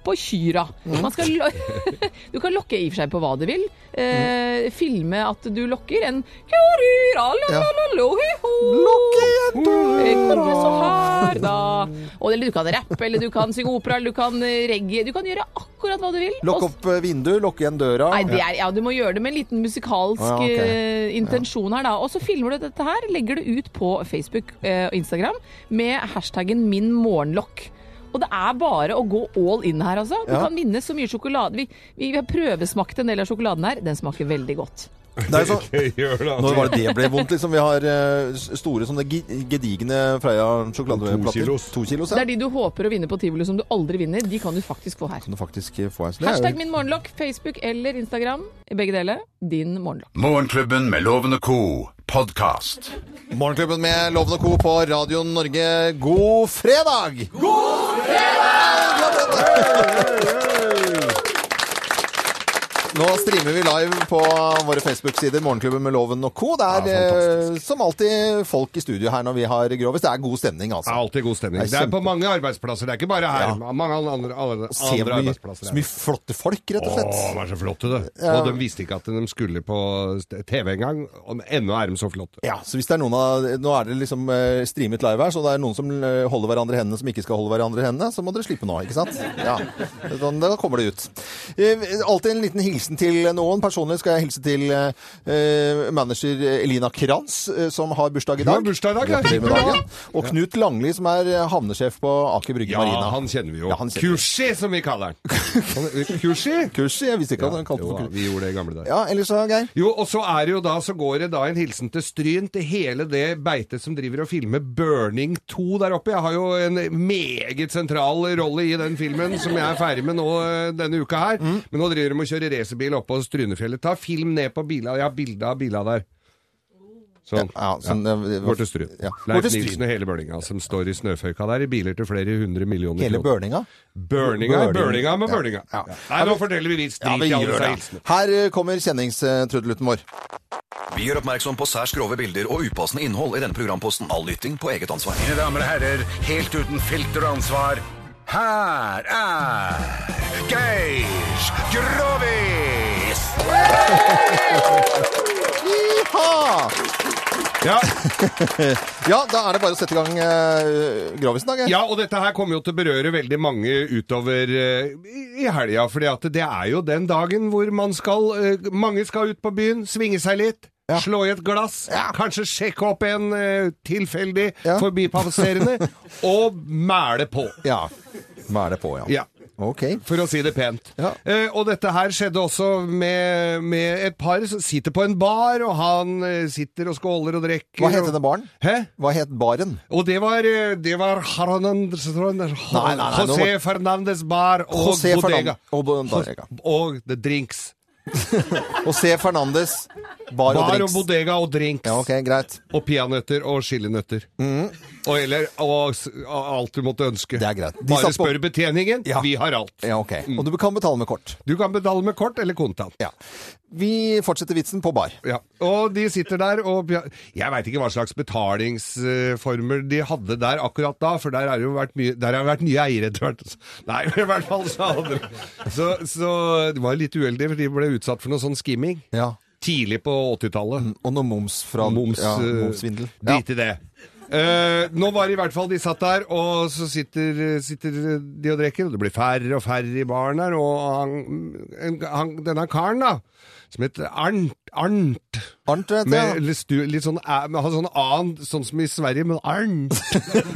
S3: på kyra. Man skal lo du kan lokke i og for seg på hva du vil. Eh, filme at du lokker en
S2: Ja.
S3: Lokke Eh, Kom så her, da. Og, eller du kan rappe, eller du kan synge opera, eller du kan eh, reggae. Du kan gjøre akkurat hva du vil.
S2: Lokk
S3: Og-
S2: opp eh, vinduet, lokk igjen døra.
S3: Nei, det er, ja, du må gjøre det med en liten musikalsk
S2: Ja, ok.
S3: eh, intensjon her, da. Og så filmer du dette her, legger det ut på Facebook eh, og Instagram med hashtaggen 'min morgenlokk'. Og det er bare å gå all in her, altså. Du
S2: Ja.
S3: kan vinne så mye sjokolade. Vi, vi har prøvesmakt en del av sjokoladen her. Den smaker veldig godt.
S2: Det er jo sånn-
S4: Ikke gjør det, altså.
S2: Når var det det ble vondt? liksom? Vi har eh, s- store sånne gi- gedigne Freia
S4: To
S2: sjokoladeplater.
S4: kilos.
S2: To kilos,
S3: Det
S2: ja.
S3: er de du håper å vinne på tivoli som du aldri vinner. De kan du faktisk få her.
S2: Kan du faktisk eh, få en sånn? Det er jo-
S3: Hashtag min morgenlokk, Facebook eller Instagram. I begge deler. Din morgenlokk.
S1: Morgenklubben med Loven og Co. Podcast.
S2: Morgenklubben med Loven og Co. på Radio Norge. God fredag! God fredag! Nå streamer vi live på våre Facebook-sider, Morgenklubben med Loven og Co. Det er
S4: Ja,
S2: eh, som alltid folk i studio her når vi har grovis. Det er god stemning,
S4: Det er
S2: altså.
S4: alltid god stemning.
S2: Det er
S4: Det er på
S2: kjempe-
S4: mange arbeidsplasser, det er ikke bare her. Mange andre, andre, andre
S2: Se hvor mye,
S4: arbeidsplasser.
S2: så mye flotte folk, rett og
S4: Åh,
S2: slett.
S4: de er så flotte, det. Og de visste ikke at de skulle på TV engang. og Ennå er de så flotte.
S2: Ja, så hvis det er noen av, Nå er det liksom eh, streamet live her, så det er noen som eh, holder hverandre i hendene som ikke skal holde hverandre i hendene, så må dere slippe nå, ikke sant? Ja, sånn, Da kommer det ut. Eh, alltid en liten hilsen til noen. Personlig skal jeg hilse til eh, eh, manager Elina Kranz, eh, som har bursdag i
S4: Du har
S2: dag.
S4: bursdag i dag, ja.
S2: Gratulerer med dagen. Og Knut Langli, som er eh, havnesjef på Aker Brygge
S4: Ja,
S2: Marina.
S4: han kjenner vi jo.
S2: Ja, han kjenner vi.
S4: Kursi, som vi kaller han. Han- Kursi?
S2: Kurs, jeg visste ikke at han kalte
S4: Jo,
S2: det for kurs.
S4: vi gjorde det i gamle dager.
S2: Ja, ellers så, Geir?
S4: Jo, og så er det jo da, så går det da en hilsen til Stryn, til hele det beitet som driver og filmer Burning 2 der oppe. Jeg har jo en meget sentral rolle i den filmen som jeg er ferdig med nå eh, denne uka her.
S2: Mm.
S4: Men nå driver de og kjører racerbil oppe på Strynefjellet. Ta film ned på bila, jeg har bilde av bila der. Sånn.
S2: Ja, sånn, eh,
S4: Går til Stryn.
S2: Ja. Går
S4: Leif
S2: til Stryn.
S4: Nilsen og hele Børninga som står i snøføyka der i biler til flere hundre millioner
S2: Hele
S4: kroner.
S2: burninga.
S4: Børninga,
S2: Børning.
S4: Børninga med
S2: Ja,
S4: Børninga.
S2: ja.
S4: Nei, nå forteller vi vits
S2: Ja,
S4: drit
S2: vi
S4: i alle
S2: gjør
S4: disse
S2: det.
S4: hilsenene.
S2: Her eh, kommer kjenningstrudelutten vår.
S8: Vi gjør oppmerksom på særs grove bilder og upassende innhold i denne programposten. All lytting på eget ansvar.
S1: Mine damer og herrer, helt uten filter og ansvar, her er Geir Grovis!
S2: Iha!
S4: Ja.
S2: Ja, da er det bare å sette i gang eh, grovisen, da, Geir.
S4: Ja, og dette her kommer jo til å berøre veldig mange utover eh, i- i helga, fordi at det er jo den dagen hvor man skal, eh, mange skal ut på byen, svinge seg litt, slå i et glass, kanskje sjekke opp en eh, tilfeldig
S2: Ja.
S4: forbipasserende, og mæle på.
S2: Ja. Hva er det på, ja?
S4: Ja.
S2: Ok.
S4: For å si det pent.
S2: Ja.
S4: Eh, og dette her skjedde også med, med et par som sitter på en bar, og han eh, sitter og skåler og drikker.
S2: Hva het
S4: og-
S2: denne baren?
S4: Hæ?
S2: Hva het baren?
S4: Og det var, eh, det var Hernandez,
S2: Nei, nei, nei, nå
S4: José
S2: var-
S4: Fernandes bar og
S2: José
S4: bodega.
S2: Fernan- og bodega.
S4: Og The Drinks.
S2: José Fernandes, bar og
S4: Bar og
S2: drinks.
S4: bodega og drinks.
S2: Ja, ok, greit.
S4: Og peanøtter og chilinøtter. Og, eller, og, s- og alt du måtte ønske.
S2: Det er greit. De
S4: Bare
S2: satt på-
S4: spør betjeningen.
S2: Ja.
S4: Vi har alt.
S2: Ja, ok. Og du kan betale med kort.
S4: Du kan betale med kort eller kontant.
S2: Ja. Vi fortsetter vitsen på bar.
S4: Ja, og de sitter der og Jeg veit ikke hva slags betalingsformer de hadde der akkurat da, for der har jo vært mye Der har det vært nye eiere etter hvert. Nei, i hvert fall så hadde de Så, så det var litt uheldig, for de ble utsatt for noe sånn skimming.
S2: Ja.
S4: Tidlig på 80-tallet.
S2: Og noe moms fra
S4: Moms,
S2: Mm, ja,
S4: eh,
S2: momssvindel. Ja.
S4: Drit i det. Eh, nå var det i hvert fall de satt der, og så sitter, sitter de og drikker, og det blir færre og færre i baren her, og han, en- han, denne karen, da, som heter Arnt, Arnt
S2: Arnt, vet du.
S4: med
S2: ja.
S4: litt, stu, litt sånn æ- med, ha sånn annen, sånn som i Sverige, men arnt.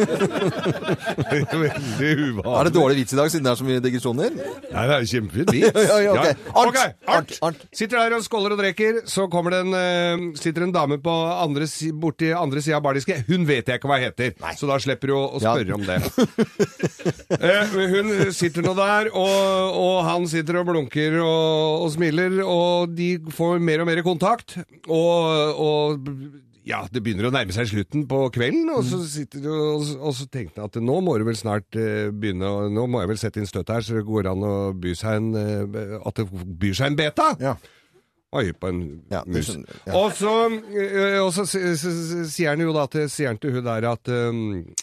S4: Veldig
S2: Er det
S4: uvanlig.
S2: dårlig vits i dag, siden det er så mye digresjoner?
S4: Nei, det er jo kjempefint vits.
S2: Ja, ja, ok. Arnt,
S4: Ok,
S2: arnt, arnt.
S4: Sitter der og skåler og drikker, så kommer det en, eh, sitter en dame på andre, si- borti andre sida av bardisken. Hun vet jeg ikke hva heter, så da slipper du å, å
S2: Ja.
S4: spørre om det. Eh, men hun sitter nå der, og, og han sitter og blunker og, og smiler, og de får mer og mer kontakt. Og, og ja, det begynner å nærme seg slutten på kvelden, og så, sitter, og, og så tenkte han at nå må du vel snart eh, begynne å, Nå må jeg vel sette inn støtet her, så det går an å by seg en, eh, at det byr seg en beta.
S2: Ja.
S4: Oi, på en
S2: Ja, det
S4: mus.
S2: skjønner- ja.
S4: Og så, eh, og så s- s- s- sier han jo da til, sier han til hun der at eh,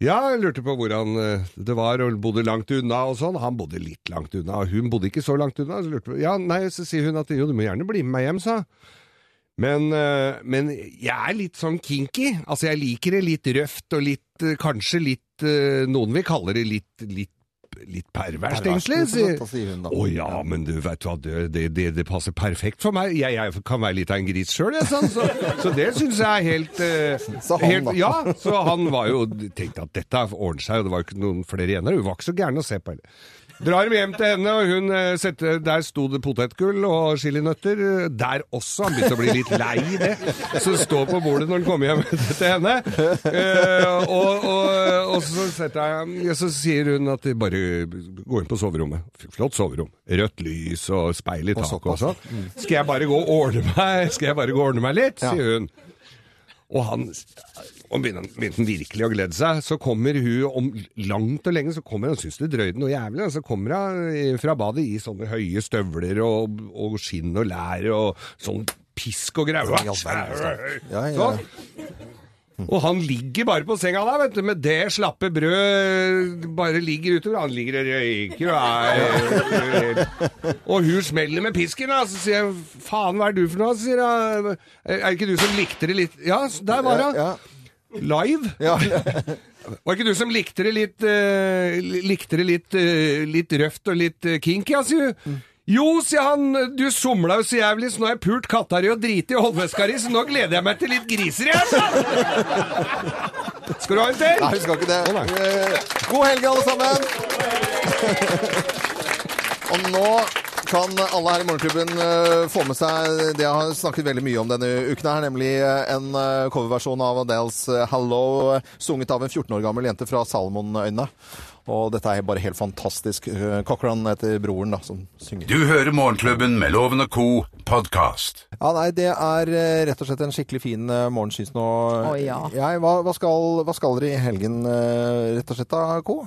S4: ja, jeg lurte på hvordan eh, det var, og bodde langt unna og sånn. Han bodde litt langt unna, og hun bodde ikke så langt unna. Så, lurte, jeg på- ja, nei, så sier hun at jo, du må gjerne bli med meg hjem, sa hun. men, eh, men jeg er litt sånn kinky. Altså, jeg liker det litt røft og litt, eh, kanskje litt eh, Noen vil kalle det litt, litt, litt perverst, egentlig. sier-
S2: liksom, Da sier hun da.
S4: å ja, men du vet hva, det, det, det, det passer perfekt for meg. Jeg, jeg kan være litt av en gris sjøl, jeg, sånn. så, så det syns jeg er helt, eh,
S2: Sa han,
S4: helt
S2: da.
S4: Ja, så han var jo tenkte at dette ordner seg, og det var jo ikke noen flere igjen der. Hun var ikke så gæren å se på heller. Drar hjem til henne, og hun eh, setter, der sto det potetgull og chilinøtter. eh, Der også. Han begynte å bli litt lei det. Så står på bordet når han kommer hjem til henne. Eh, og, og, og så, setter jeg, ja, så sier hun at de bare gå inn på soverommet. F- Flott soverom. Rødt lys og speil i taket og
S2: såpass.
S4: sånn. Skal jeg bare gå og ordne meg, skal jeg bare gå og ordne meg litt, sier hun. Og han og begynte, begynte han virkelig å glede seg. Så kommer hun om langt og lenge, så kommer hun, syns det drøyde noe jævlig, og så kommer hun eh, fra badet i sånne høye støvler og, og skinn og lær og sånn pisk og grau.
S2: Ja, i all verden. Ja, ja.
S4: Sånn. Og han ligger bare på senga der, vet du, med det slappe brød bare ligger utover. Han ligger og røyker og er Og hun smeller med pisken, da. Så sier jeg 'faen, hva er du for noe?' sier jeg. 'Er det ikke du som likte det litt Ja, så der var hun.
S2: Ja,
S4: Live.
S2: ja.
S4: Var ikke du som likte det litt eh, li- Likte det litt, eh, litt røft og litt eh, kinky, ja, sier hun. Jo, sier han, du somla jo så jævlig, så nå har jeg pult katta di og driti i håndveska di, så nå gleder jeg meg til litt griser igjen! Skal du ha en til?
S2: Nei, vi skal ikke det.
S4: Å, nei.
S2: Eh, God helg, alle sammen! Og nå kan alle her i Morgenklubben eh, få med seg det jeg har snakket veldig mye om denne uken her, nemlig eh, en eh, coverversjon av Adels Hello, eh, sunget av en 14 år gammel jente fra Salomonøyene. Og dette er bare helt fantastisk. Eh, Cochran heter broren da, som synger.
S1: Du hører Morgenklubben med Loven og Co. podkast.
S2: Ja, nei, det er eh, rett og slett en skikkelig fin eh, morgen, synes nå
S3: Å, ja.
S2: jeg. Hva, hva, skal, hva skal dere i helgen, eh, rett og slett, da, Co?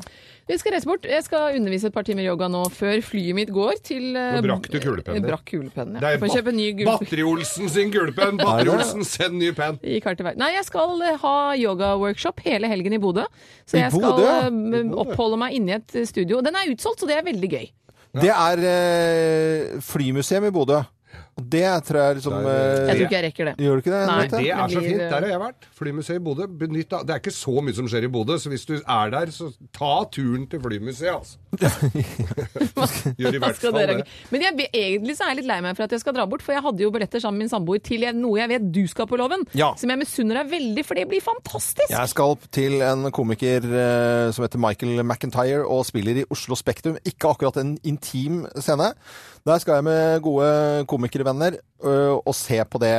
S3: Vi skal reise bort. Jeg skal undervise et par timer yoga nå før flyet mitt går til eh,
S4: Nå brakk du kulepennen din.
S3: Jeg Brakk kulepennen,
S4: Det
S3: ja.
S4: er
S3: Får kjøpe ny gul-
S4: Batteri-Olsen sin gulepenn. Batteri-Olsen, send ny penn.
S3: Gikk hardt til verk. Nei, jeg skal eh, ha yoga-workshop hele helgen i Bodø. Så
S2: I
S3: jeg skal
S2: Bodø?
S3: eh, m- oppholde meg inni et eh, studio. Den er utsolgt, så det er veldig gøy.
S2: Det er eh, flymuseum i Bodø. Og Det tror jeg liksom
S4: Der,
S2: eh,
S3: Jeg tror ikke jeg rekker det.
S2: Gjør du ikke det?
S3: Nei.
S2: Henriette?
S4: Det er
S3: Men
S4: så
S3: blir-
S4: fint. Der har jeg vært. Flymuseet i Bodø. Benytt av Det er ikke så mye som skjer i Bodø, så hvis du er der, så ta turen til Flymuseet, altså. Gjør i
S3: Hva
S4: hvert
S3: skal
S4: fall
S3: dere
S4: det.
S3: gjøre? Men jeg, egentlig så er jeg litt lei meg for at jeg skal dra bort, for jeg hadde jo billetter sammen med min samboer til jeg, noe jeg vet du skal på Loven,
S2: Ja.
S3: som jeg misunner deg veldig, for det blir fantastisk!
S2: Jeg skal opp til en komiker eh, som heter Michael McIntyre og spiller i Oslo Spektrum. Ikke akkurat en intim scene. Der skal jeg med gode komikervenner ø, og se på det.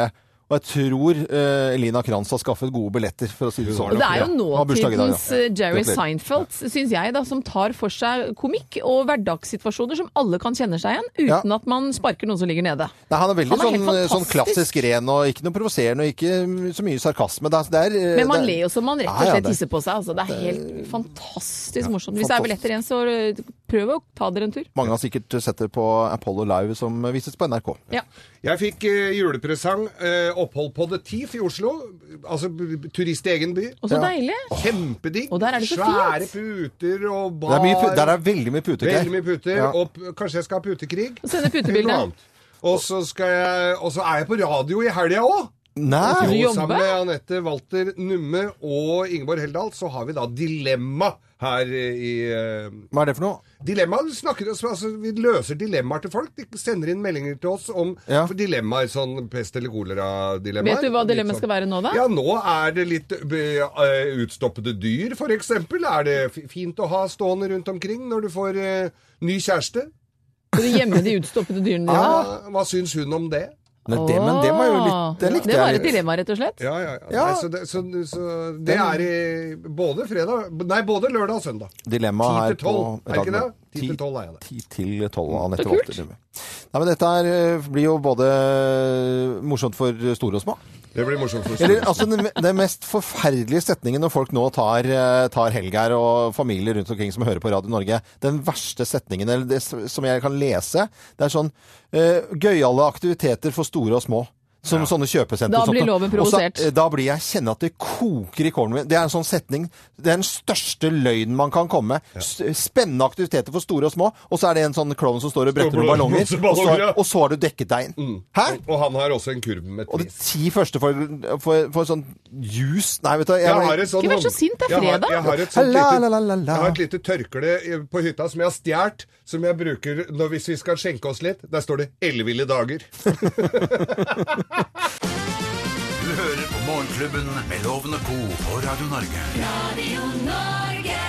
S2: Og jeg tror eh, Elina Kranz har skaffet gode billetter, for å si det sånn.
S3: Og det er jo
S2: Ja. Har bursdag i dag, ja.
S3: nåtidens eh, Jerry
S2: Gratulerer.
S3: Seinfeld, syns jeg, da, som tar for seg komikk og hverdagssituasjoner som alle kan kjenne seg igjen, uten
S2: Ja.
S3: at man sparker noen som ligger nede.
S2: Nei, han er veldig
S3: Han er helt
S2: sånn, sånn
S3: fantastisk.
S2: klassisk ren og ikke noe provoserende og ikke så mye sarkasme. Det er, det er, eh,
S3: Men man
S2: det er-
S3: ler jo som man rett og
S2: Ja, ja,
S3: slett
S2: det-
S3: tisser på seg. Altså. Det er helt fantastisk morsomt. Hvis det er
S2: fantastisk.
S3: billetter igjen, så eh, prøv å ta dere en tur.
S2: Mange har sikkert sett det på Apollo Live som vises på NRK.
S3: Ja.
S4: Jeg fikk eh, julepresang, eh, opphold på The Thief i Oslo. Altså b- b- turist i egen by.
S3: Og så
S2: Ja.
S3: deilig!
S4: Kjempedigg.
S3: Og der er det så
S4: Svære
S3: fint.
S4: puter og
S2: Det
S4: bar.
S2: er mye, pu- der er veldig mye puter. Geir.
S4: Veldig mye puter.
S2: Ja.
S4: Og p- kanskje jeg skal ha putekrig.
S3: Og sende
S4: Eller noe
S3: putebilde.
S4: annet. Og så skal jeg Og så er jeg på radio i helga òg!
S2: Nei!
S3: du
S4: Jo,
S3: jobbe?
S4: sammen med Anette Walter Numme og Ingeborg Heldal så har vi da Dilemma her i eh,
S2: Hva er det for noe?
S4: Dilemma, vi snakker, altså, Vi løser dilemmaer til folk. De sender inn meldinger til oss om
S2: Ja.
S4: dilemmaer, sånn pest eller kolera-dilemmaer. sånn
S3: Vet du hva dilemmaet
S2: sånn-
S3: skal være nå, da?
S4: Ja, nå er det litt eh, eh, utstoppede dyr, for eksempel. Er det fi- fint å ha stående rundt omkring når du får eh, ny kjæreste?
S3: Skal du gjemme de utstoppede dyrene dine? da?
S4: Ja, Hva syns hun om det?
S2: Nei, det, men det var jo
S4: Ah.
S2: litt Det likte
S3: Det var
S2: jeg
S3: et
S2: litt.
S3: dilemma, rett og slett.
S4: Ja, ja, ja.
S2: Ja.
S4: Nei, så, det, så, så det er i både fredag Nei, både lørdag og søndag.
S2: Dilemma
S4: 10
S2: her
S4: til 12,
S2: på
S4: er ikke det? 10 til
S2: 10
S4: 12 er jeg det.
S2: 10 til 12 Anette
S3: Så kult.
S2: Walter. Nei, men dette her eh, blir jo både eh, morsomt for store og små.
S4: Det blir morsomt. for
S2: Eller
S4: oss.
S2: altså den, den mest forferdelige setningen når folk nå tar, eh, tar helg her, og familier rundt omkring som hører på Radio Norge. Den verste setningen eller det, s- som jeg kan lese, det er sånn eh, Gøyale aktiviteter for store og små. Som sånne kjøpesentre.
S3: Da
S2: og sånt.
S3: blir loven
S2: Og så-
S3: provosert.
S2: eh, da blir jeg kjenne at det koker i kålen min. Det er en sånn setning. Det er den største løgnen man kan komme med. S- Spennende aktiviteter for store og små, og så er det en sånn klovn som står og bretter
S4: Står
S2: noen
S4: og
S2: ballonger,
S4: blåser
S2: og
S4: ballonger, ja.
S2: så, og så har du dekket deg inn. Hæ?
S4: Og han har også en kurv med
S2: Og de
S4: tvis.
S2: ti første for, for, for sånn juice Nei, vet du jeg,
S4: Jeg har et sånt
S3: Ikke vær så
S4: hånd-
S3: sint, det er
S4: Jeg har,
S3: fredag.
S4: jeg har et sånt
S2: La,
S4: lite,
S2: la, la, la, la.
S4: jeg har et lite tørkle i- på hytta som jeg har stjålet, som jeg bruker når, hvis vi skal skjenke oss litt. Der står det 'Elleville dager'.
S1: Du hører på Morgenklubben med Loven og Co. på Radio Norge.
S7: Radio Norge.